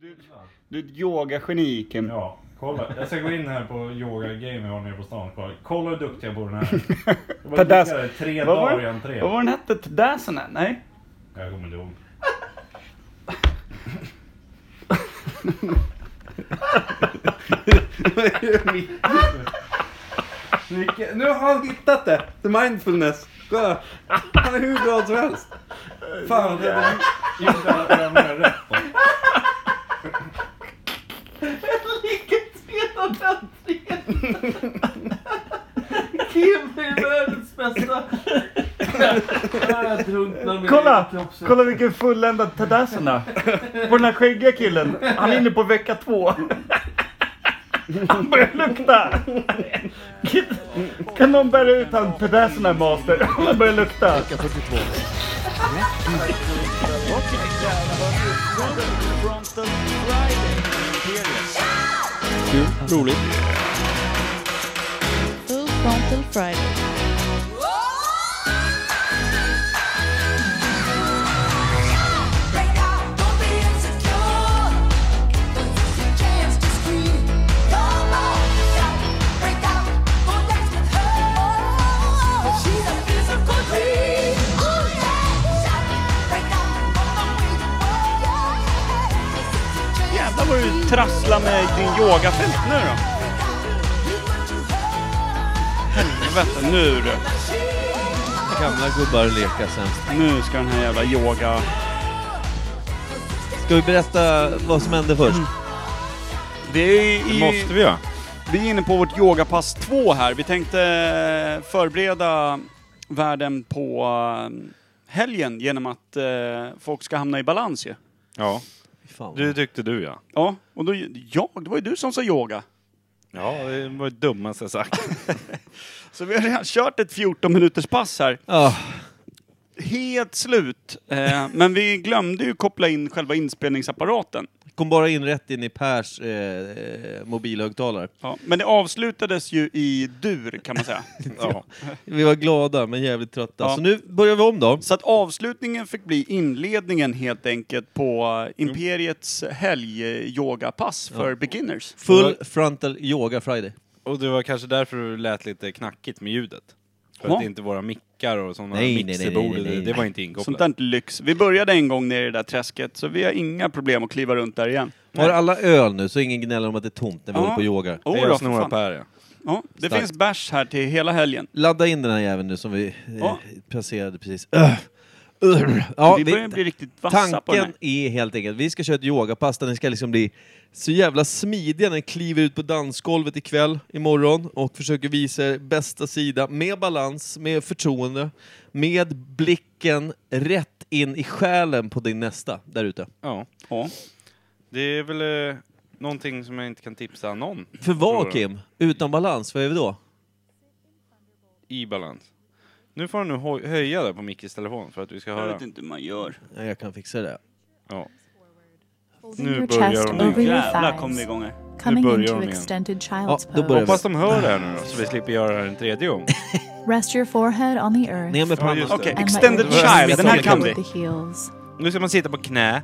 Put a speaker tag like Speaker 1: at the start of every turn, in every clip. Speaker 1: Du är ett yogageni
Speaker 2: Ja, kolla. Jag ska gå in här på Yoga Game jag har nere på stan. Kolla, kolla hur duktig jag på den här. Jag bara
Speaker 1: Tadas-
Speaker 2: klickade tre
Speaker 1: Vad var
Speaker 2: dagar
Speaker 1: det?
Speaker 2: i entrén.
Speaker 1: Vad var den hette? Tadassana? Nej?
Speaker 2: Jag kommer inte ihåg.
Speaker 3: Micke, nu har han hittat det! The mindfulness. Kolla! Han är hur glad som helst.
Speaker 2: Fan, det var gjorde alla övningar rätt då.
Speaker 4: Vilket spelande entré! Kim är världens bästa! Jag drunknar med
Speaker 1: Kolla!
Speaker 4: kroppsvärme.
Speaker 1: Kolla vilken fulländad Tadassana! På den här skäggiga killen. Han är inne på vecka två. Han börjar lukta! Kan någon bära ut han Tadassana master? Han börjar lukta.
Speaker 3: Kul, roligt.
Speaker 5: Full Frontal Friday.
Speaker 6: Jävlar vad du trasslar med din yogafält nu då. Helvete, nu du.
Speaker 3: Gamla gubbar leka sämst.
Speaker 6: Nu ska den här jävla yoga...
Speaker 3: Ska vi berätta vad som hände
Speaker 6: Mm.
Speaker 3: först?
Speaker 6: Det är ju...
Speaker 7: måste vi göra.
Speaker 6: Vi är inne på vårt yogapass 2 här. Vi tänkte eh, förbereda världen på eh, helgen genom att eh, folk ska hamna i balans ju.
Speaker 7: Ja,
Speaker 3: Fan.
Speaker 7: det tyckte du ja.
Speaker 6: Ja, och då... Jag? Det var ju du som sa yoga.
Speaker 7: Ja, det var det dummaste jag sagt.
Speaker 6: Så vi har redan kört ett 14 minuters pass här.
Speaker 3: Ja,
Speaker 6: Helt slut. Eh, men vi glömde ju koppla in själva inspelningsapparaten.
Speaker 3: kom bara in rätt in i Pers eh, eh, mobilhögtalare.
Speaker 6: Ja, men det avslutades ju i dur kan man säga.
Speaker 7: Ja.
Speaker 3: Vi var glada men jävligt trötta.
Speaker 6: Ja.
Speaker 3: Så nu börjar vi om då.
Speaker 6: Så att avslutningen fick bli inledningen helt enkelt på eh, Imperiets helg-yogapass för beginners.
Speaker 3: Full frontal yoga friday.
Speaker 7: Och det var kanske därför du lät lite knackigt med ljudet. För
Speaker 6: Ja.
Speaker 7: att inte våra mickar och sådana
Speaker 3: Nej, nej, nej,
Speaker 7: mixerbord,
Speaker 3: nej, nej,
Speaker 7: det-
Speaker 3: nej.
Speaker 7: det var inte
Speaker 6: Sånt
Speaker 7: inkopplat.
Speaker 6: där lyx. Vi började en gång nere i det där träsket, så vi har inga problem att kliva runt där igen.
Speaker 3: Har alla öl nu så ingen gnäller om att det är tomt när vi
Speaker 6: Ja.
Speaker 3: håller på och yogar.
Speaker 6: Oh,
Speaker 7: jag
Speaker 6: då,
Speaker 7: snor
Speaker 6: fan.
Speaker 7: på här ja.
Speaker 6: Ja, det
Speaker 3: Starkt.
Speaker 6: finns bärs här till hela helgen.
Speaker 3: Ladda in den här jäveln nu som vi eh,
Speaker 6: Ja.
Speaker 3: placerade precis. Ugh. Ugh. Ja,
Speaker 6: vi
Speaker 3: vi-
Speaker 6: börjar bli riktigt vassa på den här.
Speaker 3: Tanken är helt enkelt, vi ska köra ett yogapass där ni ska liksom bli så jävla smidiga när ni kliver ut på dansgolvet ikväll, imorgon och försöker visa er bästa sida med balans, med förtroende, med blicken rätt in i själen på din nästa där ute.
Speaker 7: ja.
Speaker 6: Ja.
Speaker 7: Det är väl eh, någonting som jag inte kan tipsa någon
Speaker 3: För vad
Speaker 7: Förlorar.
Speaker 3: Kim? Utan balans, vad är vi då?
Speaker 7: i balans. Nu får du nu hoj- höja där på Mickes telefon för att vi ska
Speaker 6: Jag
Speaker 7: höra.
Speaker 6: vet inte hur man gör.
Speaker 3: Nej, Jag kan fixa det.
Speaker 7: Ja.
Speaker 8: Holding
Speaker 7: Nu
Speaker 8: your
Speaker 7: börjar
Speaker 8: chest
Speaker 7: hon.
Speaker 8: over your
Speaker 6: Jävlar kom vi
Speaker 8: thighs,
Speaker 6: igång här.
Speaker 8: coming
Speaker 7: börjar
Speaker 8: into
Speaker 7: hon igen.
Speaker 8: extended
Speaker 3: Ja,
Speaker 8: child's
Speaker 3: då börjar
Speaker 8: pose.
Speaker 7: Hoppas de hör det här nu då, så vi slipper göra det här en tredje gång.
Speaker 8: Rest your forehead on the earth.
Speaker 3: Ner med
Speaker 7: Ja,
Speaker 3: pannan.
Speaker 7: just det.
Speaker 6: Okej,
Speaker 8: and let
Speaker 6: extended
Speaker 8: your legs
Speaker 6: child. Den här
Speaker 8: meet
Speaker 6: kan vi.
Speaker 8: with The heels.
Speaker 7: Nu ska man sitta på knä,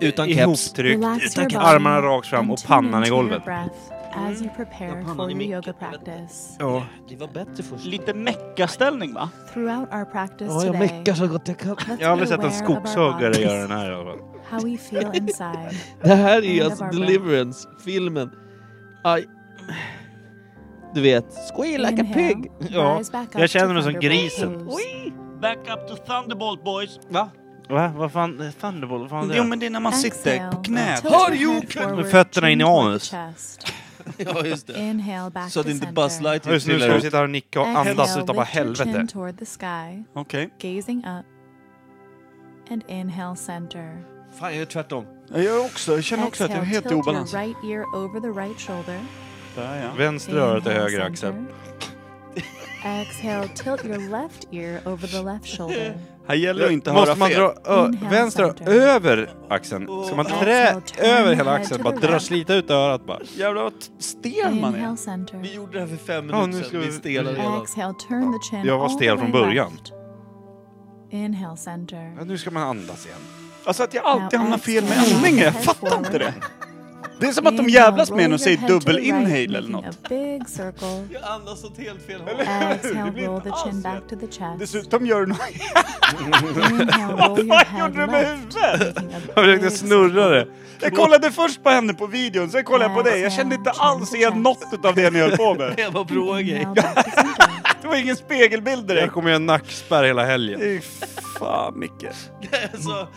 Speaker 3: Utan keps.
Speaker 7: ihoptryckt,
Speaker 8: Relax your body
Speaker 7: armarna rakt fram och
Speaker 8: and tune
Speaker 7: pannan i
Speaker 8: into your
Speaker 7: golvet.
Speaker 8: breath As you prepare
Speaker 3: pannan
Speaker 8: for
Speaker 3: i
Speaker 8: your
Speaker 3: micken.
Speaker 8: yoga practice.
Speaker 7: Ja.
Speaker 3: Det var bättre först.
Speaker 6: Lite meckaställning va?
Speaker 8: Throughout our practice
Speaker 3: Ja, jag
Speaker 8: today,
Speaker 3: meckar så gott jag kan.
Speaker 8: let's
Speaker 7: Jag har aldrig
Speaker 8: be
Speaker 7: sett en
Speaker 8: aware of our
Speaker 7: skogshuggare göra
Speaker 8: bodies,
Speaker 7: den här i alla fall.
Speaker 8: How we feel inside.
Speaker 3: Det här
Speaker 8: End
Speaker 3: är
Speaker 8: of
Speaker 3: alltså
Speaker 8: our
Speaker 3: Deliverance, filmen. Aj. Du vet. Squeal like a
Speaker 8: Inhale,
Speaker 3: pig. Ja.
Speaker 8: rise back up
Speaker 7: Jag känner
Speaker 8: to
Speaker 7: mig som
Speaker 8: thunderbolt
Speaker 7: grisen.
Speaker 8: pose.
Speaker 6: Back up to Thunderbolt boys.
Speaker 3: Va?
Speaker 7: Va? Vad fan? Thunderbolt? Vad fan är
Speaker 6: Jo
Speaker 7: det?
Speaker 6: men det är när man sitter på
Speaker 8: Exhale,
Speaker 6: knät.
Speaker 8: tilt your
Speaker 3: Har you-
Speaker 8: head forward,
Speaker 7: Med fötterna in i
Speaker 8: chin toward
Speaker 7: anus.
Speaker 8: the chest.
Speaker 3: Ja, just det.
Speaker 8: Inhale back
Speaker 3: Så att
Speaker 8: to
Speaker 3: inte
Speaker 8: center.
Speaker 3: Buzz Lightyear
Speaker 7: Just nu ska
Speaker 3: trillar
Speaker 7: vi
Speaker 3: ut.
Speaker 7: sitta här och nicka och
Speaker 8: Exhale,
Speaker 7: andas utav bara
Speaker 8: lift your chin
Speaker 7: helvete.
Speaker 8: toward the sky,
Speaker 6: Okej.
Speaker 8: gazing up. And inhale center.
Speaker 3: Fan, jag gör tvärtom.
Speaker 6: Jag gör också. Jag känner också att jag är
Speaker 8: Exhale,
Speaker 6: helt i
Speaker 8: tilt
Speaker 6: obalans.
Speaker 8: your right ear over the right shoulder.
Speaker 6: Där ja.
Speaker 7: Vänster öra till höger axel.
Speaker 8: Exhale, tilt your left ear over the left shoulder.
Speaker 6: Här gäller det att inte höra
Speaker 7: Måste man
Speaker 6: fel.
Speaker 7: dra ö-
Speaker 8: Inhale
Speaker 7: vänster öra
Speaker 8: center.
Speaker 7: över axeln? Ska man trä
Speaker 8: Exhale, turn
Speaker 7: över hela
Speaker 8: head
Speaker 7: axeln?
Speaker 8: to
Speaker 7: Bara
Speaker 8: the
Speaker 7: dra,
Speaker 8: right.
Speaker 7: slita ut örat bara.
Speaker 6: Jävlar vad t- stel man är.
Speaker 8: Inhale center.
Speaker 3: Vi gjorde det här för fem
Speaker 7: Ja,
Speaker 3: minuter
Speaker 7: nu ska
Speaker 3: sedan. Vi
Speaker 7: vi-
Speaker 3: är stela redan.
Speaker 8: Exhale, turn the chin
Speaker 7: Jag var
Speaker 8: all the
Speaker 7: stel från
Speaker 8: way
Speaker 7: början.
Speaker 8: left. Inhale
Speaker 7: Ja,
Speaker 8: center.
Speaker 7: nu ska man andas igen.
Speaker 6: Alltså att jag alltid hamnar fel med andning. Jag fattar inte det. Det är som att de jävlas med en och säger dubbel inhale eller något.
Speaker 8: A big circle.
Speaker 3: Jag andas åt helt fel håll.
Speaker 8: Exhale, roll the chin back to the chest.
Speaker 6: Dessutom gör du något...
Speaker 8: Inhale, roll your
Speaker 6: Vad gjorde
Speaker 8: head
Speaker 6: du med
Speaker 8: left.
Speaker 6: huvudet?
Speaker 7: Jag försökte snurra det.
Speaker 6: Jag kollade först på henne på videon, sen kollade jag på dig. Jag kände inte alls igen något av det ni höll på med.
Speaker 3: Jag var bra grej.
Speaker 8: Inhale back to center.
Speaker 6: Det var ingen spegelbild
Speaker 7: Jag
Speaker 6: direkt.
Speaker 7: kommer göra nackspärr hela helgen.
Speaker 6: Fy Fan Micke.
Speaker 3: Alltså,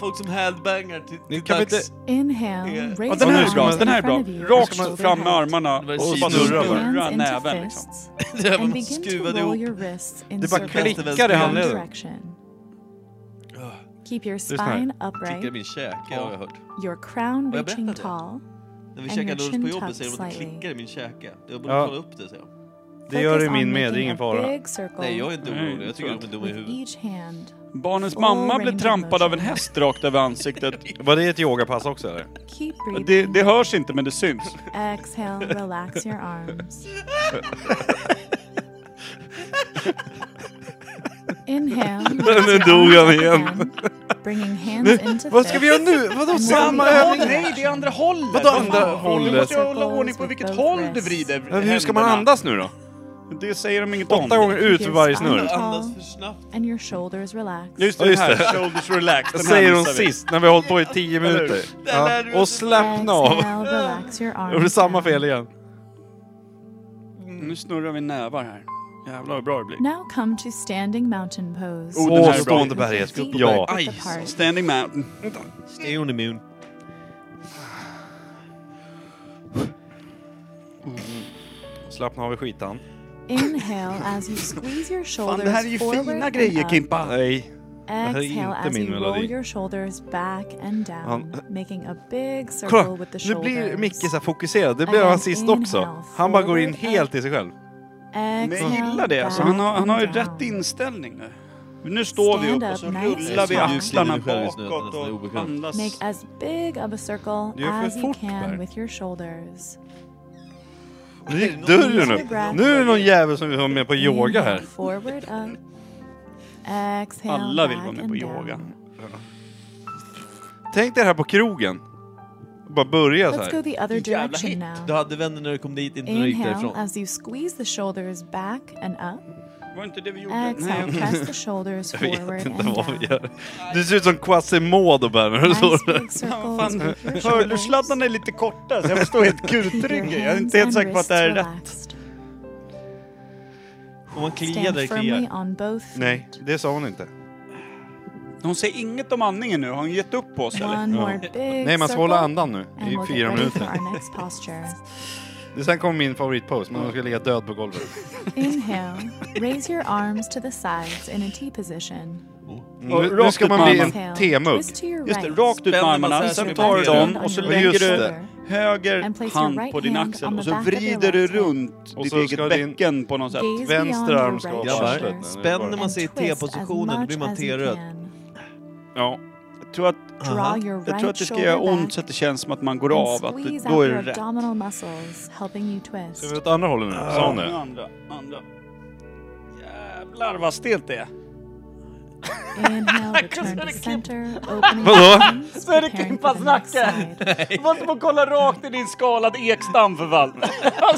Speaker 3: folk som headbangar till,
Speaker 7: Ni
Speaker 3: till
Speaker 7: kan väl
Speaker 3: dags.
Speaker 7: inte...
Speaker 8: Inhale, raise
Speaker 6: Ja, den här
Speaker 8: arms
Speaker 6: är bra,
Speaker 8: in
Speaker 6: den här är
Speaker 8: front
Speaker 6: bra.
Speaker 8: of you.
Speaker 6: Rakt fram med armarna och
Speaker 3: Det var Kina.
Speaker 6: bara snurra
Speaker 8: Hands into
Speaker 6: näven. liksom.
Speaker 8: fists.
Speaker 3: Det var
Speaker 8: And
Speaker 3: man
Speaker 8: begin to
Speaker 3: skruvad ihop.
Speaker 8: roll your wrists in
Speaker 7: Det bara
Speaker 8: circles in
Speaker 7: klickar i
Speaker 8: one
Speaker 7: handleden.
Speaker 8: direction. Keep your
Speaker 7: Lyssna här.
Speaker 8: spine
Speaker 3: Klickade
Speaker 8: upright,
Speaker 3: min käke har jag hört.
Speaker 8: your crown
Speaker 3: jag
Speaker 8: reaching
Speaker 3: berättade?
Speaker 8: tall.
Speaker 3: När vi
Speaker 8: And
Speaker 3: käkade
Speaker 8: your
Speaker 3: lunch på
Speaker 8: chin
Speaker 3: jobbet
Speaker 8: tucked
Speaker 3: säger de att det
Speaker 8: slightly.
Speaker 3: klickar i min käke. Jag borde
Speaker 7: Ja.
Speaker 3: kolla upp det säger de.
Speaker 7: Det gör
Speaker 8: Focus
Speaker 7: det min
Speaker 8: on
Speaker 7: med, det är
Speaker 8: making
Speaker 7: ingen
Speaker 8: a
Speaker 7: fara.
Speaker 8: big circle
Speaker 3: Nej, jag är inte
Speaker 6: Nej,
Speaker 3: orolig.
Speaker 6: det
Speaker 3: Jag
Speaker 6: tror
Speaker 3: tycker
Speaker 6: jag
Speaker 3: de är dumma i
Speaker 8: with
Speaker 3: huvudet.
Speaker 8: each hand.
Speaker 6: Barnens mamma blev trampad av en häst rakt över ansiktet.
Speaker 7: Var det ett yogapass också eller?
Speaker 8: Keep
Speaker 6: Det,
Speaker 8: breathing.
Speaker 6: det hörs inte men det syns.
Speaker 8: Exhale, relax your arms. Inhale.
Speaker 7: Nu
Speaker 8: raise your
Speaker 7: dog han
Speaker 8: arms up
Speaker 7: igen.
Speaker 8: again, Bringing hands into
Speaker 7: Vad ska vi göra
Speaker 8: fists.
Speaker 7: nu? Vadå
Speaker 8: And
Speaker 7: samma
Speaker 8: moving
Speaker 7: övning?
Speaker 8: arms.
Speaker 6: Nej, det är andra hållet!
Speaker 7: Vadå andra hållet?
Speaker 6: Du måste ju hålla ordning på vilket håll du vrider
Speaker 7: Ja, Hur ska man
Speaker 6: händerna.
Speaker 7: andas nu då?
Speaker 6: Det säger de inget om.
Speaker 7: Åtta gånger ut för varje snurr.
Speaker 3: Jag andas för snabbt.
Speaker 8: And your shoulders relax.
Speaker 6: Just
Speaker 7: Ja,
Speaker 6: det,
Speaker 7: just
Speaker 6: här.
Speaker 7: det.
Speaker 6: Shoulders relax. Den här
Speaker 7: Säger hon
Speaker 6: missar vi.
Speaker 7: sist när vi har hållit på i tio
Speaker 6: hur?
Speaker 7: minuter.
Speaker 3: Där lärde vi
Speaker 7: Ja. Och
Speaker 3: oss-
Speaker 7: slappna av.
Speaker 8: Exhale, relax your arms.
Speaker 7: Jag gjorde samma
Speaker 8: down.
Speaker 7: fel igen.
Speaker 6: Nu snurrar vi nävar här. Jävlar vad bra det blir.
Speaker 8: Now come to standing mountain pose.
Speaker 6: Oh, den här
Speaker 7: Åh,
Speaker 6: är bra.
Speaker 7: stående berget.
Speaker 8: Feet
Speaker 7: Ja.
Speaker 8: width
Speaker 3: Aj,
Speaker 8: apart.
Speaker 6: Standing mountain.
Speaker 3: Stay on the moon.
Speaker 7: Slappna av i skitan.
Speaker 8: Inhale as you squeeze your
Speaker 6: Fan,
Speaker 8: shoulders
Speaker 6: det här är ju
Speaker 8: forward
Speaker 6: fina
Speaker 8: and
Speaker 6: grejer
Speaker 8: up.
Speaker 6: Kimpa.
Speaker 7: Nej. här är
Speaker 8: Exhale
Speaker 7: inte
Speaker 8: as
Speaker 7: min
Speaker 8: you roll
Speaker 7: melodi.
Speaker 8: your shoulders back and down,
Speaker 7: Han-
Speaker 8: making a big circle
Speaker 7: Kolla,
Speaker 8: with the
Speaker 7: nu
Speaker 8: shoulders.
Speaker 7: blir Micke så här fokuserad. Det blev han sist också. Han bara går in helt i sig själv.
Speaker 6: Men
Speaker 8: Exhale,
Speaker 6: jag gillar det. Alltså,
Speaker 8: back
Speaker 6: han, har, han har ju
Speaker 8: and
Speaker 6: rätt
Speaker 8: down.
Speaker 6: inställning nu. Nu står vi upp och så
Speaker 8: Stand up, nice
Speaker 6: rullar vi
Speaker 8: and
Speaker 6: axlarna
Speaker 3: slow. Du glider själv i snö,
Speaker 6: bakåt
Speaker 3: nästan
Speaker 6: och
Speaker 3: obekvämt.
Speaker 6: andas.
Speaker 8: Make as big of a circle
Speaker 7: Det är för
Speaker 8: as you
Speaker 7: fort,
Speaker 8: can
Speaker 7: Per.
Speaker 8: with your shoulders.
Speaker 7: Nu gick dörren upp. Nu är det någon jävel som vill vara med på yoga
Speaker 8: Inhale,
Speaker 7: här.
Speaker 8: Forward up. Exhale,
Speaker 6: Alla vill
Speaker 8: back
Speaker 6: vara med
Speaker 8: and
Speaker 6: på
Speaker 8: down.
Speaker 6: yoga.
Speaker 7: Tänk dig det här på krogen. Bara börja så
Speaker 8: Let's go
Speaker 7: här.
Speaker 8: the other
Speaker 3: Jävla
Speaker 8: direction
Speaker 3: hit!
Speaker 8: now.
Speaker 3: Du hade vänner när du kom dit, inte när du gick
Speaker 8: Inhale
Speaker 3: därifrån.
Speaker 8: as you squeeze the shoulders back and up.
Speaker 6: Var inte det vi gjorde?
Speaker 8: Exhale,
Speaker 6: Nej.
Speaker 8: press the shoulders
Speaker 7: Jag vet
Speaker 8: forward
Speaker 7: inte
Speaker 8: and
Speaker 7: vad vi
Speaker 8: down.
Speaker 7: gör. Du ser ut som Quasimodo bara när du
Speaker 8: Nice
Speaker 7: står där.
Speaker 8: big circles
Speaker 6: Fan,
Speaker 8: with your shoulders.
Speaker 6: hörlursladdarna är lite korta så jag förstår helt
Speaker 8: Keep your
Speaker 6: kutrygg. Jag är
Speaker 8: hands
Speaker 6: inte helt
Speaker 8: and
Speaker 6: säker på att det här är
Speaker 8: wrists relaxed.
Speaker 6: rätt.
Speaker 3: Om man kliar där,
Speaker 8: Stand firmly
Speaker 3: kliar.
Speaker 8: on both
Speaker 7: Nej,
Speaker 8: feet.
Speaker 7: det sa hon inte.
Speaker 6: Hon säger inget om andningen nu. Har hon gett upp på oss eller?
Speaker 8: One more big
Speaker 7: Nej, man ska hålla
Speaker 8: circle,
Speaker 7: andan nu
Speaker 8: and we'll
Speaker 7: i
Speaker 8: get
Speaker 7: fyra
Speaker 8: ready for
Speaker 7: minuter.
Speaker 8: our next posture.
Speaker 7: Det sen kommer min favoritpose, man ska ligga död på golvet.
Speaker 8: Inhale, raise your arms to the sides in a T position.
Speaker 7: Nu,
Speaker 6: rakt
Speaker 7: nu ska
Speaker 6: ut
Speaker 7: man
Speaker 6: med
Speaker 7: bli
Speaker 6: armarna.
Speaker 7: en
Speaker 8: Exhale,
Speaker 7: temugg.
Speaker 8: twist to your
Speaker 6: Just det,
Speaker 8: right.
Speaker 6: rakt ut med
Speaker 3: Spänner man
Speaker 6: armarna,
Speaker 3: sig
Speaker 6: sen
Speaker 3: så
Speaker 6: tar du
Speaker 3: mycket
Speaker 6: dem
Speaker 3: mer.
Speaker 6: och så
Speaker 8: Just
Speaker 6: lägger du
Speaker 8: det. And
Speaker 6: höger
Speaker 8: place your
Speaker 6: hand
Speaker 8: right
Speaker 6: på din
Speaker 8: hand
Speaker 6: axel
Speaker 8: on the
Speaker 6: och så
Speaker 8: back of your
Speaker 6: vrider du
Speaker 8: left hand.
Speaker 6: runt
Speaker 7: Och
Speaker 6: ditt
Speaker 7: så ska
Speaker 6: eget
Speaker 7: din-
Speaker 6: bäcken på något sätt.
Speaker 8: Gaze beyond
Speaker 7: Vänster
Speaker 8: your
Speaker 7: arm ska
Speaker 8: right
Speaker 7: vara
Speaker 3: Grabbar,
Speaker 7: avslappnad.
Speaker 8: shoulder.
Speaker 7: nu.
Speaker 3: spänner man
Speaker 8: And
Speaker 3: sig i
Speaker 8: twist as
Speaker 3: T-positionen då blir man
Speaker 8: much as you
Speaker 3: T-röd.
Speaker 8: can.
Speaker 6: Ja. Jag tror att,
Speaker 8: Draw your right
Speaker 6: jag tror att det ska
Speaker 8: shoulder
Speaker 6: göra ont
Speaker 8: back
Speaker 6: så att det känns som att man går
Speaker 8: and
Speaker 6: av. Att det,
Speaker 8: squeeze
Speaker 6: då
Speaker 8: out
Speaker 6: är
Speaker 8: your
Speaker 6: det rätt.
Speaker 8: abdominal muscles, helping you twist.
Speaker 7: Ska vi åt andra hållet nu? Sa hon
Speaker 6: Nu
Speaker 7: det?
Speaker 6: Andra, andra. Jävlar vad stelt det är.
Speaker 8: Inhale, return to center, opening
Speaker 7: Vadå?
Speaker 8: arms,
Speaker 6: Så är det
Speaker 8: preparing
Speaker 6: Kimpas
Speaker 8: for the next
Speaker 6: nacke.
Speaker 8: side.
Speaker 6: Det var som att kolla rakt i din skalade ekstam för fan.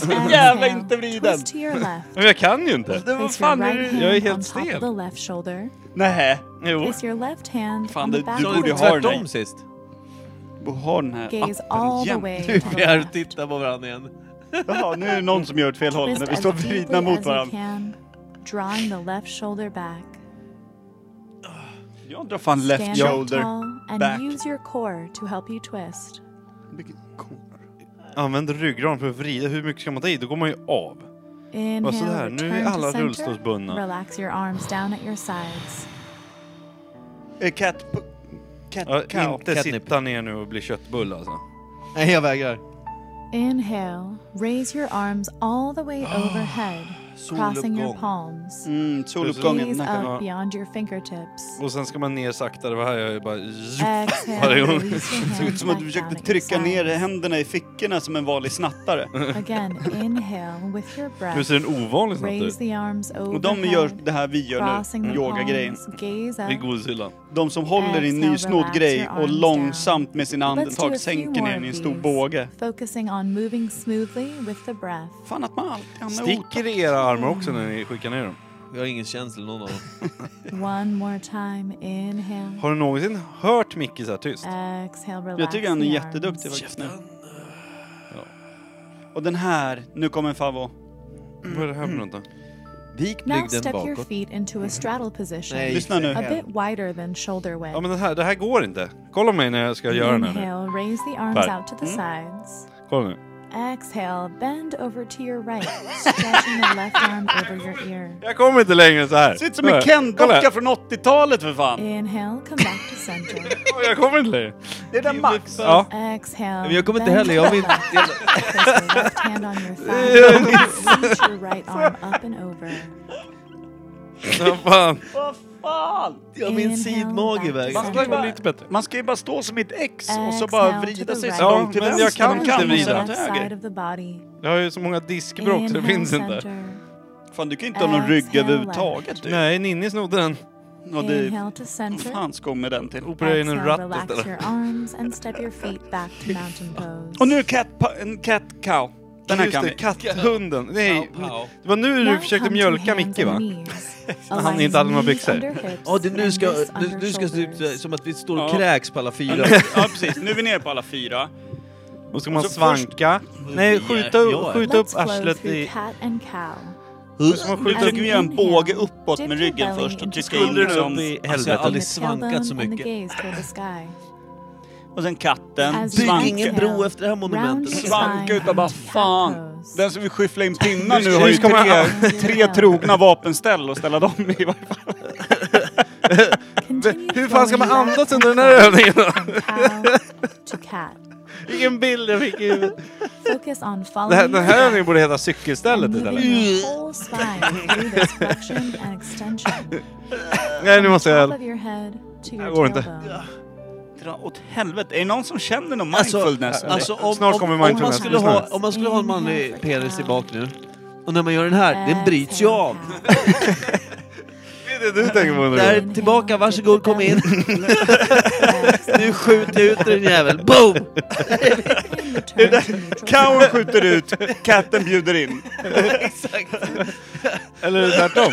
Speaker 6: Så jävla
Speaker 8: Exhale,
Speaker 6: inte vriden.
Speaker 8: twist to your left.
Speaker 7: Men jag kan ju inte!
Speaker 6: Det var
Speaker 8: Place your
Speaker 6: fan är
Speaker 8: right
Speaker 6: det?
Speaker 7: Jag är
Speaker 8: hand
Speaker 7: helt
Speaker 8: on top
Speaker 7: stel.
Speaker 8: of the left shoulder.
Speaker 6: Nej.
Speaker 7: Jo.
Speaker 8: Place your left hand
Speaker 6: Fan,
Speaker 8: on the
Speaker 6: du-
Speaker 8: back
Speaker 6: du
Speaker 8: of
Speaker 6: borde
Speaker 8: the
Speaker 6: ha
Speaker 8: left.
Speaker 6: den.
Speaker 3: Tvärtom sist.
Speaker 6: Du har den här
Speaker 8: Gaze
Speaker 6: appen
Speaker 8: all the way
Speaker 6: jämt.
Speaker 8: to the
Speaker 3: Vi är och
Speaker 8: left.
Speaker 3: tittar på varandra igen.
Speaker 6: Jaha, nu är det någon som gör ett fel håll
Speaker 8: Twist
Speaker 6: när vi
Speaker 8: as
Speaker 6: står
Speaker 8: deeply
Speaker 6: vridna mot
Speaker 8: as you
Speaker 6: varandra.
Speaker 8: can, drawing the left shoulder back.
Speaker 6: Jag drar fan left
Speaker 8: Stand up
Speaker 6: shoulder.
Speaker 8: tall and
Speaker 6: back.
Speaker 8: use your core to help you twist.
Speaker 6: Vilket kon-
Speaker 7: Använd ryggraden för att vrida. Hur mycket ska man ta i? Då går man ju av.
Speaker 8: Inhale,
Speaker 7: Vad sådär, nu är
Speaker 8: return to
Speaker 7: alla
Speaker 8: center.
Speaker 7: rullstolsbundna.
Speaker 8: Relax your arms down at your sides.
Speaker 6: Eh, Cat... Cat
Speaker 7: Ja,
Speaker 6: cow.
Speaker 7: inte
Speaker 3: catnip.
Speaker 7: sitta ner nu och bli köttbulle alltså.
Speaker 3: Nej, jag vägrar.
Speaker 8: Inhale, raise your arms all the way overhead, crossing your
Speaker 3: Soluppgång.
Speaker 8: palms.
Speaker 6: Ah, Mm,
Speaker 8: Gaze
Speaker 6: soluppgången.
Speaker 8: up beyond your fingertips.
Speaker 7: Och sen ska man ner sakta. Det var här jag bara...
Speaker 8: Äh.
Speaker 7: Varje
Speaker 8: Exhale,
Speaker 7: gång.
Speaker 8: release your
Speaker 6: Det såg ut
Speaker 8: hands
Speaker 6: som att du
Speaker 8: back down
Speaker 6: försökte
Speaker 8: at your
Speaker 6: trycka ner
Speaker 8: sides.
Speaker 6: händerna i fickorna som en vanlig snattare.
Speaker 8: Again, inhale with your
Speaker 7: Nu
Speaker 8: breath.
Speaker 7: ser den ovanlig snabbt
Speaker 8: Raise
Speaker 7: ut.
Speaker 8: the arms
Speaker 6: Och de gör
Speaker 8: overhead,
Speaker 6: det här vi gör
Speaker 8: crossing
Speaker 6: nu,
Speaker 8: the
Speaker 6: yogagrejen.
Speaker 8: palms, gaze
Speaker 7: Vid
Speaker 8: up,
Speaker 7: godishyllan.
Speaker 6: de som håller i en nysnodd grej och långsamt med sina
Speaker 8: Let's do a
Speaker 6: andetag
Speaker 8: few
Speaker 6: sänker
Speaker 8: more
Speaker 6: ner den i en
Speaker 8: of
Speaker 6: stor
Speaker 8: these,
Speaker 6: båge.
Speaker 8: Focusing on moving smoothly with the breath.
Speaker 6: Fan att man alltid hamnar i
Speaker 7: Sticker det i era armar också när ni skickar ner dem?
Speaker 3: Jag har ingen känsla någon av dem.
Speaker 8: One more time, inhale.
Speaker 7: Har du någonsin hört Micke så här tyst?
Speaker 8: Äh. Exhale, relax
Speaker 6: Jag tycker han är
Speaker 8: the
Speaker 6: jätteduktig
Speaker 8: arms.
Speaker 6: faktiskt nu. Ja. Och den här, nu kommer en favvo.
Speaker 7: Vad är det här för något då?
Speaker 3: Vik
Speaker 8: Now
Speaker 3: brygden
Speaker 8: step your
Speaker 3: bakåt.
Speaker 8: feet into a straddle position.
Speaker 3: Nej,
Speaker 6: Lyssna nu.
Speaker 8: A bit wider than shoulder width.
Speaker 7: Ja men det här, det här går inte. Kolla mig när jag ska
Speaker 8: Mm,
Speaker 7: göra den här nu.
Speaker 8: Inhale, raise the arms
Speaker 7: Där.
Speaker 8: out to the sides.
Speaker 7: Kolla nu.
Speaker 8: Exhale, bend over to your right, stretching the left arm over your ear.
Speaker 7: Jag kommer inte längre så här.
Speaker 6: Ser ut som en Ken-docka från 80-talet för fan!
Speaker 8: Inhale, come back to center.
Speaker 7: Jag kommer inte längre.
Speaker 6: Det är den Max!
Speaker 7: Ja.
Speaker 8: Exhale.
Speaker 3: Men jag kommer inte
Speaker 8: bend
Speaker 3: heller, jag vill-
Speaker 8: over. Place your left hand on your thigh. Reach your right arm up and over.
Speaker 7: Ja, fan.
Speaker 6: Vad fan!
Speaker 3: Jag har min
Speaker 8: Inhale,
Speaker 3: sidmage i
Speaker 8: back
Speaker 3: vägen.
Speaker 8: to
Speaker 7: Det här går lite bättre.
Speaker 6: Man ska ju bara stå som ett X och så
Speaker 8: Exhale
Speaker 6: bara
Speaker 8: to
Speaker 6: vrida
Speaker 8: the
Speaker 6: sig så
Speaker 8: right.
Speaker 6: långt till
Speaker 7: Ja, men
Speaker 6: vänster
Speaker 7: jag kan
Speaker 6: man
Speaker 7: inte
Speaker 8: Exhale on the
Speaker 6: och så
Speaker 7: vrida.
Speaker 8: left side
Speaker 6: långt till höger.
Speaker 8: of the body.
Speaker 7: Jag har ju så många diskbråck så det finns inte.
Speaker 8: center.
Speaker 6: Fan du kan ju inte ha någon rygg
Speaker 8: Exhale
Speaker 6: överhuvudtaget du.
Speaker 7: Nej, Ninni snodde den.
Speaker 6: Och det,
Speaker 8: Inhale to
Speaker 6: vad
Speaker 8: center.
Speaker 6: fan ska hon med den till?
Speaker 7: Operera in en
Speaker 8: Exhale,
Speaker 7: ratt
Speaker 8: relax
Speaker 7: istället.
Speaker 8: your arms and step your feet back to mountain pose.
Speaker 6: Och nu cat, pa- en cat cow. Den här
Speaker 7: Just
Speaker 6: kan
Speaker 7: det,
Speaker 6: vi.
Speaker 7: katthunden. Nej,
Speaker 3: Pow, pow.
Speaker 7: det var nu du försökte mjölka Micke va?
Speaker 8: Han
Speaker 7: inte hade några byxor.
Speaker 3: Ja, det, nu ska, nu, nu ska det se ut som att vi står och
Speaker 6: Ja.
Speaker 3: kräks på alla fyra.
Speaker 6: Ja precis, nu är vi nere på alla fyra.
Speaker 7: Då ska man
Speaker 6: så
Speaker 7: svanka. Nej, skjuta,
Speaker 3: Ja.
Speaker 7: skjuta upp arslet i...
Speaker 8: Cat and cow.
Speaker 6: Nu försöker vi göra en
Speaker 8: Inhale.
Speaker 6: båge uppåt
Speaker 8: Dip
Speaker 6: med
Speaker 8: your
Speaker 6: ryggen
Speaker 8: belly
Speaker 6: först och
Speaker 8: into
Speaker 6: trycka in
Speaker 8: shoulder.
Speaker 6: liksom.
Speaker 3: Alltså, jag har aldrig
Speaker 8: The tailbone
Speaker 3: svankat så
Speaker 8: and the
Speaker 3: mycket.
Speaker 8: gaze toward the sky.
Speaker 6: Och sen
Speaker 8: As you
Speaker 6: katten,
Speaker 3: Bygg
Speaker 8: exhale,
Speaker 6: svanken.
Speaker 3: ingen bro efter det här monumentet.
Speaker 8: round your
Speaker 6: Svanka
Speaker 8: spine
Speaker 6: utan bara
Speaker 8: into cat
Speaker 6: fan.
Speaker 8: pose.
Speaker 6: Den som vill skyffla in pinnar nu
Speaker 7: Nu
Speaker 6: har ju
Speaker 7: ska man-
Speaker 6: tre,
Speaker 8: Ja.
Speaker 6: tre trogna vapenställ att ställa dem i varje fall.
Speaker 8: Continue
Speaker 7: Hur fan ska man
Speaker 8: throwing
Speaker 7: andas
Speaker 8: that
Speaker 7: under den här övningen då?
Speaker 8: cow to cat.
Speaker 7: Vilken bild jag fick i huvudet.
Speaker 8: Focus on
Speaker 7: Det här-
Speaker 8: following
Speaker 7: Den
Speaker 8: your
Speaker 7: här
Speaker 8: breath.
Speaker 7: övningen borde heta cykelstället
Speaker 8: Moving
Speaker 7: istället.
Speaker 8: your whole spine through this flexion and extension.
Speaker 7: Nej, nu måste
Speaker 8: Top
Speaker 7: jag...
Speaker 8: of your head to
Speaker 7: Det går
Speaker 8: your
Speaker 7: inte.
Speaker 8: tailbone.
Speaker 6: Dra åt helvete. Är det någon som känner någon
Speaker 3: Alltså,
Speaker 7: äh,
Speaker 6: mindfulness? eller?
Speaker 3: Alltså, om,
Speaker 7: Snart kommer
Speaker 3: om, om, man
Speaker 7: mindfulness.
Speaker 3: skulle ha, om man skulle ha en manlig penis i bak nu. Och när man gör den här,
Speaker 8: Äh,
Speaker 3: den bryts ju av.
Speaker 8: Exhale,
Speaker 7: Det är det du tänker på nu.
Speaker 3: Där, tillbaka, varsågod kom in.
Speaker 8: exhale.
Speaker 3: Nu skjuter jag ut den jävel. Boom!
Speaker 8: And return to neutral.
Speaker 6: Kaon skjuter ut, katten bjuder in.
Speaker 7: Eller tvärtom.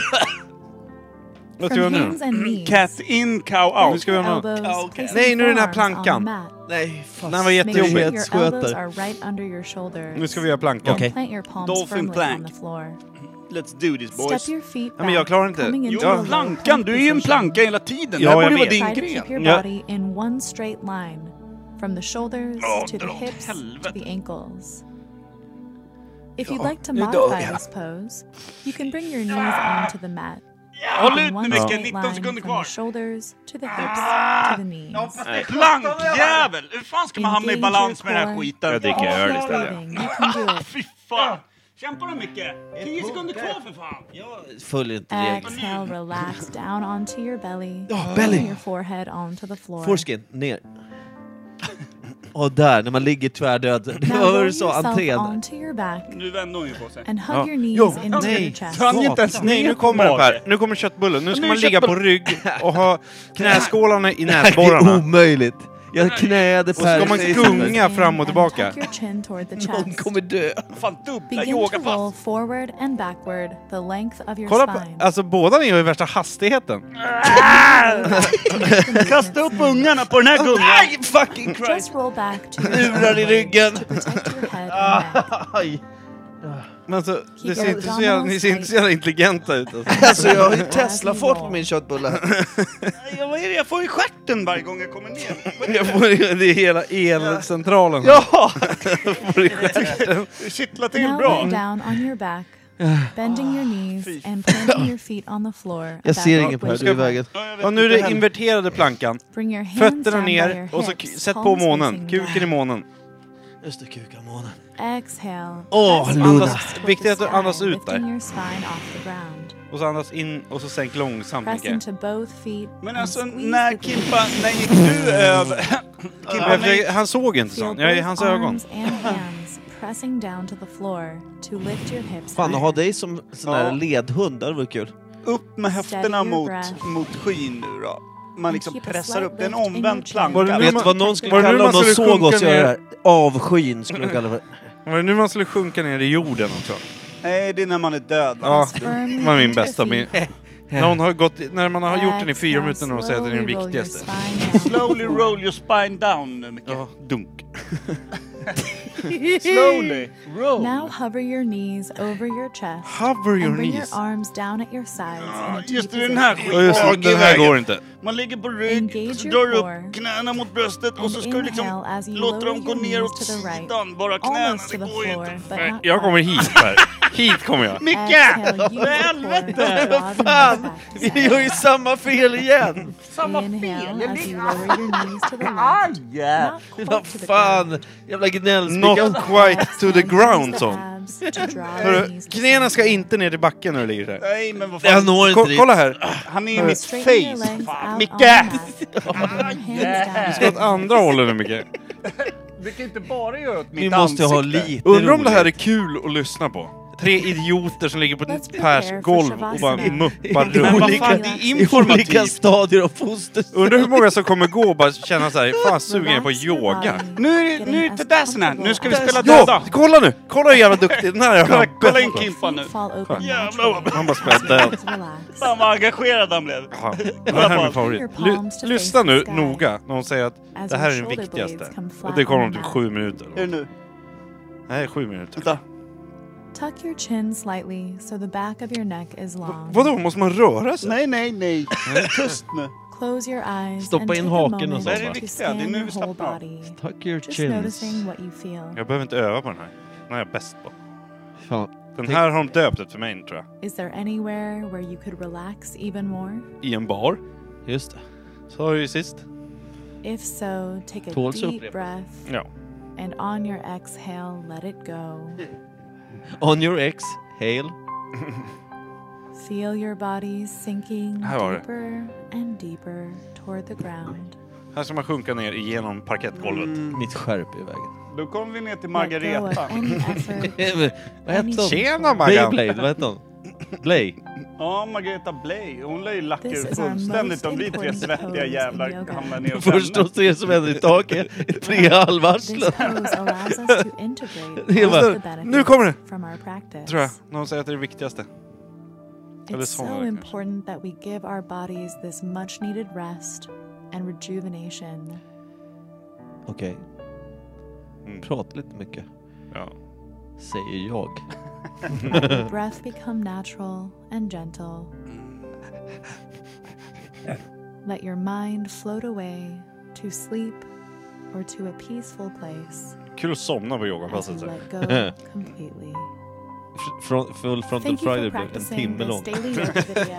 Speaker 7: Vad tror jag
Speaker 8: From
Speaker 7: nu
Speaker 8: hands and knees.
Speaker 6: Cat in, cow
Speaker 7: Nu
Speaker 6: out.
Speaker 7: ska vi göra något.
Speaker 8: Elbows, place
Speaker 7: Nej, nu är den här
Speaker 8: your forearms on
Speaker 7: plankan.
Speaker 8: the mat.
Speaker 3: Nej, fan.
Speaker 7: Den här var
Speaker 8: Make sure
Speaker 7: jättejobbig.
Speaker 8: your elbows
Speaker 3: Sköter.
Speaker 8: are right under your shoulders.
Speaker 7: Nu ska vi göra plankan.
Speaker 3: Okej.
Speaker 8: Plant your palms
Speaker 6: Dolphin
Speaker 8: firmly
Speaker 6: plank.
Speaker 8: on the floor.
Speaker 6: Let's do this boys.
Speaker 8: Step your feet back,
Speaker 7: men jag klarar inte.
Speaker 8: coming
Speaker 7: Jo,
Speaker 8: into a
Speaker 6: Jo,
Speaker 8: low
Speaker 6: plankan.
Speaker 8: plank
Speaker 6: Du är ju en
Speaker 8: position.
Speaker 6: planka hela tiden.
Speaker 7: Ja,
Speaker 6: det här borde
Speaker 7: jag
Speaker 6: ju vara
Speaker 7: vet.
Speaker 6: din
Speaker 8: Try to keep
Speaker 6: gren.
Speaker 8: your
Speaker 7: Ja.
Speaker 8: body in one straight line, from the shoulders
Speaker 6: Ja,
Speaker 8: to the
Speaker 6: dra åt
Speaker 8: hips to
Speaker 6: helvete.
Speaker 8: the ankles. If you'd like to
Speaker 3: nu dör
Speaker 8: modify
Speaker 3: jag.
Speaker 8: this pose, you can bring your knees onto the mat.
Speaker 6: Håll ut
Speaker 8: in one
Speaker 6: nu Micke,
Speaker 8: straight
Speaker 6: 19
Speaker 8: line
Speaker 6: sekunder
Speaker 8: from
Speaker 6: kvar.
Speaker 8: the shoulders to the hips to the knees.
Speaker 6: Plankjävel! Hur fan ska man hamna i
Speaker 8: Engage
Speaker 6: balans med den här
Speaker 8: your core.
Speaker 6: skiten?
Speaker 7: Jag dricker öl istället.
Speaker 8: Breathing, you can do it.
Speaker 6: Fy fan! Kämpa då Micke! 10 sekunder kvar för fan!
Speaker 3: Följ inte reglerna.
Speaker 8: Exhale, relax down onto your belly.
Speaker 3: Ja,
Speaker 8: Bring
Speaker 3: Oh, Ah, belly.
Speaker 8: your forehead onto the floor.
Speaker 3: Foreskin, ner. Och där, när man ligger tvärdöd. Det
Speaker 8: Now
Speaker 3: var vad
Speaker 8: roll
Speaker 3: du sa,
Speaker 8: yourself
Speaker 3: entrén.
Speaker 8: onto your back
Speaker 6: Nu vänder hon ju på sig.
Speaker 8: and hug your knees
Speaker 3: Jo,
Speaker 8: into
Speaker 3: nej.
Speaker 8: your chest.
Speaker 6: Han är inte ens
Speaker 7: Nej, nu kommer det Per. Nu kommer köttbullen. Nu ska
Speaker 6: Nu är
Speaker 7: man ligga på
Speaker 6: köttbullen.
Speaker 7: rygg och ha knäskålarna i
Speaker 3: Nej, det är
Speaker 7: näsborrarna.
Speaker 3: omöjligt. Jag knäade
Speaker 7: ska
Speaker 3: Per.
Speaker 7: man
Speaker 3: säger
Speaker 7: gunga.
Speaker 3: Sandberg.
Speaker 7: Gunga fram och
Speaker 8: And
Speaker 7: tillbaka.
Speaker 8: tuck your chin toward the
Speaker 3: Någon
Speaker 8: chest.
Speaker 3: kommer dö.
Speaker 6: Fan dubbla
Speaker 8: Begin to roll
Speaker 6: yogapass!
Speaker 8: forward and backward the length of your
Speaker 7: Kolla på,
Speaker 8: spine.
Speaker 7: alltså båda ni har ju värsta hastigheten.
Speaker 6: Kasta upp ungarna på den här gungan!
Speaker 3: fucking
Speaker 8: Just roll back to your
Speaker 3: Murar i
Speaker 8: spine
Speaker 3: ryggen.
Speaker 8: to protect your head
Speaker 7: Ah,
Speaker 8: and neck.
Speaker 3: Aj.
Speaker 7: Men alltså, det
Speaker 8: your
Speaker 7: ser inte så jävla, ni ser inte så jävla intelligenta ut. Alltså.
Speaker 3: Alltså jag har ju Tesla-fart på min köttbulle.
Speaker 6: Ja, Vad är det jag får i stjärten varje gång jag kommer ner? Vad är
Speaker 7: Jag får, det är hela elcentralen.
Speaker 6: Ja!
Speaker 7: Det kittlar
Speaker 8: Now lay down on your back, bending your knees and planting your feet on the floor.
Speaker 3: Jag
Speaker 8: about
Speaker 3: ser ingen Per,
Speaker 8: width
Speaker 3: du är i
Speaker 8: width.
Speaker 3: vägen.
Speaker 7: Och nu är det inverterade plankan.
Speaker 8: Bring your hands
Speaker 7: Fötterna
Speaker 8: down by
Speaker 7: ner
Speaker 8: your
Speaker 7: och så k-
Speaker 8: hips,
Speaker 7: sätt på
Speaker 8: palms
Speaker 7: månen.
Speaker 8: facing
Speaker 7: Kuken i
Speaker 8: down.
Speaker 7: månen.
Speaker 3: Just det, kukamånen.
Speaker 8: Exhale.
Speaker 3: Åh,
Speaker 8: Press
Speaker 3: Luna.
Speaker 8: your hips toward
Speaker 7: Viktigt
Speaker 8: the
Speaker 7: att du
Speaker 8: sky,
Speaker 7: andas ut där.
Speaker 8: lifting your spine off the ground.
Speaker 7: Och så andas in och så sänk långsamt
Speaker 8: Press
Speaker 7: Micke.
Speaker 8: into both feet
Speaker 6: Men
Speaker 8: and
Speaker 6: alltså
Speaker 8: squeeze
Speaker 6: när
Speaker 8: the
Speaker 6: Kimpa, när gick du över? Kimpa,
Speaker 7: Jag
Speaker 6: när gick
Speaker 7: försöker- Han såg inte
Speaker 8: Feel
Speaker 7: sånt. Jag är i
Speaker 8: both
Speaker 7: hans ögon.
Speaker 8: arms and hands pressing down to the floor to lift your hips
Speaker 3: Fan, att
Speaker 8: higher.
Speaker 3: ha dig som sån här
Speaker 6: Ja.
Speaker 3: ledhund, det hade varit kul.
Speaker 6: upp med höfterna
Speaker 8: Steady your
Speaker 6: mot,
Speaker 8: breath.
Speaker 6: mot skyn nu då? man liksom pressar upp. Det är en omvänd
Speaker 8: Var
Speaker 6: planka.
Speaker 8: det
Speaker 3: Vet du vad någon
Speaker 7: Var
Speaker 3: skulle
Speaker 7: det nu
Speaker 3: kalla om
Speaker 7: man
Speaker 3: de
Speaker 7: skulle
Speaker 3: såg oss
Speaker 7: sjunka
Speaker 3: göra
Speaker 7: ner?
Speaker 3: det här? Avskyn skulle de kalla det.
Speaker 7: Var det nu man skulle sjunka ner i jorden också?
Speaker 6: Nej, det är när man är död.
Speaker 7: Ja, det var min bästa.
Speaker 8: bild.
Speaker 7: Min, när, hon har gått, när man har gjort den i fyra minuter när hon säger att den är den viktigaste.
Speaker 6: Slowly roll your spine down, Micke.
Speaker 7: Ja, dunk.
Speaker 6: Slowly roll.
Speaker 8: Now hover your knees over your chest
Speaker 7: Hover your
Speaker 8: and bring
Speaker 7: knees.
Speaker 8: your arms down at your sides in a T
Speaker 6: Ah, Just det, den här
Speaker 8: position.
Speaker 7: Ja, just det,
Speaker 6: skitdrag i
Speaker 7: den här
Speaker 6: vägen.
Speaker 7: går inte.
Speaker 6: Man ligger på rygg,
Speaker 8: Engage
Speaker 6: så
Speaker 8: your
Speaker 6: drar du
Speaker 8: core.
Speaker 6: upp knäna mot bröstet och
Speaker 8: And
Speaker 6: så ska du liksom
Speaker 8: inhale as you
Speaker 6: låta dem
Speaker 8: lower
Speaker 6: gå
Speaker 8: your knees
Speaker 6: neråt
Speaker 8: to the right.
Speaker 6: sidan. Bara knäna,
Speaker 8: Almost
Speaker 6: det
Speaker 8: to the
Speaker 6: går ju
Speaker 8: floor,
Speaker 6: inte.
Speaker 8: but not
Speaker 7: Jag kommer
Speaker 8: quite.
Speaker 7: hit Per. Hit kommer jag.
Speaker 6: Micke!
Speaker 8: Exhale, use
Speaker 6: helvete!
Speaker 8: the core
Speaker 3: Fan!
Speaker 8: and broaden your
Speaker 3: Vi gör ju samma fel igen!
Speaker 8: Inhale as you lower your knees to the left. Not quite
Speaker 3: Vad
Speaker 8: to the
Speaker 3: fan!
Speaker 8: ground.
Speaker 3: Jävla
Speaker 7: Not
Speaker 3: gnällspicka.
Speaker 7: quite
Speaker 8: Exhale,
Speaker 7: to the
Speaker 8: use
Speaker 7: ground
Speaker 8: the
Speaker 7: son.
Speaker 8: abs to draw your
Speaker 7: Hörru,
Speaker 8: knees to
Speaker 7: Knäna ska
Speaker 8: center.
Speaker 7: inte ner i backen när du ligger där.
Speaker 6: Nej, men vad
Speaker 3: Jag
Speaker 6: fan.
Speaker 3: når inte
Speaker 7: Ko-
Speaker 3: dit.
Speaker 7: kolla här.
Speaker 6: Han är i mitt
Speaker 8: Straighten your
Speaker 6: face. Oh,
Speaker 8: legs
Speaker 6: Fan.
Speaker 8: out
Speaker 7: Micke!
Speaker 8: on the mat and your hands
Speaker 7: Gå
Speaker 8: down.
Speaker 7: åt andra hållet nu Micke.
Speaker 6: Du kan inte bara göra åt
Speaker 3: Vi
Speaker 6: mitt
Speaker 3: måste ha
Speaker 6: ansikte.
Speaker 3: lite
Speaker 7: Undrar om det här är
Speaker 3: roligt.
Speaker 7: kul att lyssna på. Tre idioter som ligger på
Speaker 8: Let's
Speaker 7: Pers
Speaker 8: prepare for
Speaker 7: golv och bara
Speaker 8: Shavasana.
Speaker 7: muppar
Speaker 6: Men
Speaker 7: runt.
Speaker 6: vad fan, det är
Speaker 8: I
Speaker 3: i olika
Speaker 6: informativt.
Speaker 3: stadier av foster.
Speaker 7: Undrar hur många som kommer gå och bara känna så här, fan sugen jag är på
Speaker 8: Relax your
Speaker 7: yoga.
Speaker 8: body,
Speaker 6: Nu är det,
Speaker 8: getting
Speaker 6: nu är det inte
Speaker 8: as
Speaker 6: dassen här. Nu ska vi
Speaker 8: comfortable
Speaker 6: spela
Speaker 8: as
Speaker 6: döda.
Speaker 7: Ja, kolla nu! Kolla hur jävla duktig den här är.
Speaker 6: Kolla, kolla in
Speaker 7: Han bara-
Speaker 6: Kimpa nu.
Speaker 8: feet fall open
Speaker 6: Jävlar vad
Speaker 8: naturally.
Speaker 7: Han bara spelar död.
Speaker 8: Relax.
Speaker 6: Fan vad engagerad han blev.
Speaker 7: Ja, Det här är min favorit. Ly- lyssna nu noga när hon säger att
Speaker 8: As
Speaker 7: det här är
Speaker 8: your
Speaker 7: den
Speaker 8: shoulder
Speaker 7: viktigaste.
Speaker 8: blades come flat
Speaker 7: Och det kommer om
Speaker 8: on the
Speaker 7: typ
Speaker 8: mat.
Speaker 7: sju minuter.
Speaker 6: Är det nu?
Speaker 7: Nej, sju minuter.
Speaker 6: Vänta.
Speaker 8: Tuck your chin slightly so the back of your neck is long.
Speaker 7: Vadå, måste man röra sig?
Speaker 6: Nej, nej, nej. Tyst nu.
Speaker 8: Close your eyes
Speaker 3: Stoppa
Speaker 8: and take
Speaker 3: in
Speaker 8: a
Speaker 3: haken och
Speaker 8: moment
Speaker 3: så. Det här är
Speaker 8: to
Speaker 6: viktiga,
Speaker 8: scan
Speaker 6: det är nu
Speaker 8: your whole
Speaker 6: vi slappnar av.
Speaker 8: body.
Speaker 3: Tuck your
Speaker 8: Just
Speaker 3: chins.
Speaker 8: noticing what you feel.
Speaker 7: Jag behöver inte öva på den här. Den här är jag bäst på.
Speaker 3: Fan.
Speaker 7: Den här har de döpt efter mig tror jag.
Speaker 8: Is there anywhere where you could relax even more?
Speaker 7: I en bar.
Speaker 3: Just det.
Speaker 7: Så har du ju sist.
Speaker 8: If so, take a
Speaker 3: Tåls
Speaker 8: deep
Speaker 3: upprepning.
Speaker 8: breath
Speaker 7: Ja.
Speaker 8: and on your exhale, let it go.
Speaker 3: On your ex, hail.
Speaker 8: Feel your body sinking
Speaker 7: Här var det.
Speaker 8: deeper and deeper toward the ground.
Speaker 7: Här ska man sjunka ner igenom parkettgolvet.
Speaker 6: Mm.
Speaker 3: Mitt skärp är i vägen.
Speaker 6: Då kommer vi ner till
Speaker 8: Let go of
Speaker 6: Margareta.
Speaker 8: any effort.
Speaker 3: Eh, vad hette hon?
Speaker 7: Tjena Maggan!
Speaker 3: Beyblade, vad hette hon? Blay.
Speaker 6: Ja, Margareta Bley. Hon lär ju lacka
Speaker 8: This
Speaker 6: ur
Speaker 8: is our
Speaker 6: fullständigt
Speaker 8: most
Speaker 6: om vi tre
Speaker 8: important
Speaker 6: svettiga
Speaker 8: pose in
Speaker 6: jävlar
Speaker 8: yoga.
Speaker 6: hamnar ner och
Speaker 3: Först de
Speaker 6: skämmer.
Speaker 3: tre som händer i taket, tre
Speaker 8: This
Speaker 3: halvarslen.
Speaker 8: pose allows us to integrate
Speaker 3: Det är
Speaker 8: all
Speaker 3: bara,
Speaker 8: the
Speaker 7: "Nu kommer det!"
Speaker 8: benefits from our practice.
Speaker 7: Tror jag. Någon säger att det är det viktigaste. Eller
Speaker 8: It's
Speaker 7: så
Speaker 8: so
Speaker 7: verkar det.
Speaker 8: important that we give our bodies this much needed rest and rejuvenation.
Speaker 3: Okej.
Speaker 7: Mm.
Speaker 3: Prata lite mycket,
Speaker 7: Ja.
Speaker 3: säger jag.
Speaker 8: Your breath become natural and gentle. Let your mind float away to sleep or to a peaceful place
Speaker 7: Kul att somna på
Speaker 8: as you
Speaker 7: yogapasset. så här.
Speaker 8: let go completely.
Speaker 3: Fr- Front, full Frontal
Speaker 8: Thank you for
Speaker 3: Friday blev en
Speaker 8: practicing
Speaker 3: timme
Speaker 8: this
Speaker 3: lång.
Speaker 8: daily work video.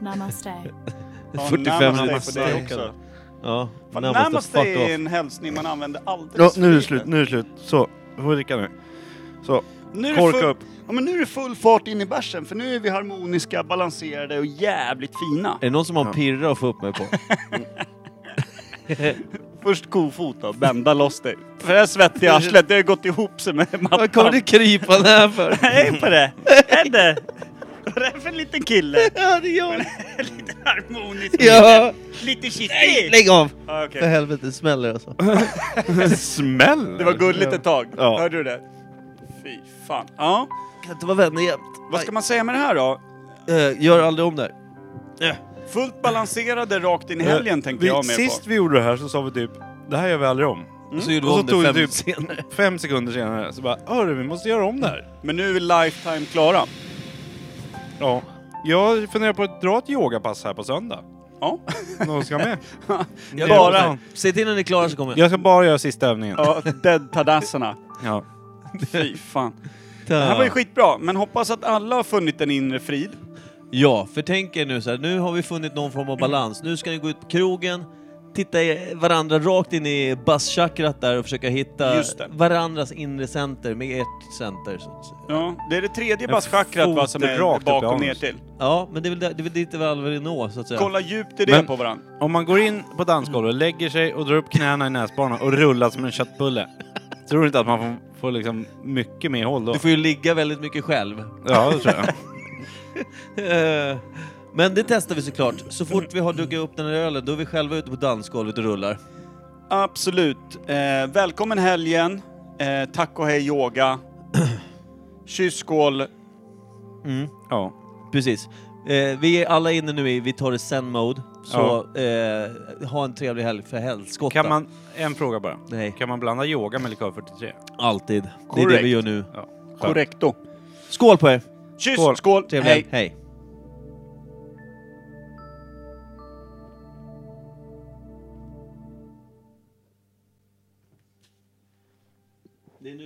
Speaker 8: Namaste.
Speaker 6: Ja,
Speaker 3: 45
Speaker 6: namaste på dig
Speaker 3: minuter.
Speaker 6: också.
Speaker 3: Ja,
Speaker 6: Fan,
Speaker 3: närmast
Speaker 6: Namaste
Speaker 3: fuck off.
Speaker 6: är en hälsning man använder
Speaker 7: Ja,
Speaker 6: alldeles
Speaker 7: nu är det
Speaker 6: för
Speaker 7: slut,
Speaker 6: lite.
Speaker 7: nu är det slut. Så, du får dricka nu. Så,
Speaker 6: Nu är det
Speaker 7: korka
Speaker 6: full-
Speaker 7: upp.
Speaker 6: Ja, men nu är det full fart in i bärsen för nu är vi harmoniska, balanserade och jävligt fina.
Speaker 3: Är det någon som har en pirra att få upp mig på?
Speaker 6: Först kofota, bända loss dig. För det här svettiga arslet, det har gått ihop sig med mattan.
Speaker 3: Vad kommer det krypande här för?
Speaker 6: Hej på det! Hedde! Vad är det för liten kille?
Speaker 3: Ja, det gör det.
Speaker 6: lite harmonisk.
Speaker 3: Ja,
Speaker 6: Lite kittig.
Speaker 3: lägg av!
Speaker 6: Ah,
Speaker 3: För
Speaker 6: okej.
Speaker 3: helvete, det smäller alltså.
Speaker 7: Det smäller!
Speaker 6: Det var gulligt ett tag.
Speaker 7: Ja.
Speaker 6: Hörde du det? Fy fan. Ja.
Speaker 3: Kan inte vara vänner jämt.
Speaker 6: Vad ska man säga med det här då?
Speaker 3: Eh, Gör aldrig om det här.
Speaker 6: Fullt balanserade rakt in i helgen tänkte
Speaker 7: vi,
Speaker 6: jag med
Speaker 7: Sist
Speaker 6: på. Mm.
Speaker 7: vi gjorde det här så sa vi typ, det här gör vi aldrig om.
Speaker 3: Och så gjorde
Speaker 7: Och
Speaker 3: vi
Speaker 7: så tog
Speaker 3: om det
Speaker 7: det
Speaker 3: fem
Speaker 7: typ-
Speaker 3: senare.
Speaker 7: Fem sekunder senare så bara, hörru vi måste göra om det här.
Speaker 6: Men nu är lifetime klara.
Speaker 7: Ja. Jag funderar på att dra ett yogapass här på söndag.
Speaker 6: Ja.
Speaker 7: Någon ska med?
Speaker 3: Jag
Speaker 6: bara-
Speaker 3: gör- Säg till när ni är klara så kommer jag.
Speaker 7: Jag ska bara göra sista övningen.
Speaker 6: Ja, dead tadasserna.
Speaker 7: Ja.
Speaker 6: Fy fan. Det här var ju skitbra, men hoppas att alla har funnit en inre frid.
Speaker 3: Ja, för tänk er nu så här, nu har vi funnit någon form av balans. Nu ska ni gå ut på krogen, titta i- varandra rakt in i basschakrat där och försöka hitta
Speaker 6: Just det.
Speaker 3: varandras inre center med ert center. så att säga.
Speaker 6: Ja, det är det tredje
Speaker 7: En
Speaker 6: baschakrat va,
Speaker 7: fot
Speaker 6: som är
Speaker 7: rakt upp i
Speaker 6: bak och ner
Speaker 7: anus.
Speaker 6: till.
Speaker 3: Ja, men det är väl, där, det är väl dit vi alla vill nå så att säga.
Speaker 6: Kolla djupt i det
Speaker 7: Men-
Speaker 6: på varandra.
Speaker 7: Om man går in på dansgolvet, lägger sig och drar upp knäna i näsbanan och rullar som en köttbulle. Tror du inte att man får, får liksom mycket mer håll då?
Speaker 3: Du får ju ligga väldigt mycket själv.
Speaker 7: Ja, det tror jag.
Speaker 3: Eh, Men det testar vi såklart. Så fort vi har druckit upp den här ölen, då är vi själva ute på dansgolvet och rullar.
Speaker 6: Absolut. Eh, välkommen helgen. Eh, tack och hej yoga. Kyss, skål.
Speaker 7: Ja.
Speaker 3: Precis. Eh, vi är alla inne nu i vi tar det sen-mode. Så eh, ha en trevlig helg för helskotta.
Speaker 7: Kan man, en fråga bara.
Speaker 3: Nej,
Speaker 7: Kan man blanda yoga med likör 43?
Speaker 3: alltid. Det är det
Speaker 6: Korrekt.
Speaker 3: vi gör nu.
Speaker 7: Ja.
Speaker 6: Korrekto.
Speaker 3: Skål på er!
Speaker 6: Kyss,
Speaker 7: Skål.
Speaker 6: skål.
Speaker 3: Trevlig
Speaker 6: Hej.
Speaker 3: helg. Hej.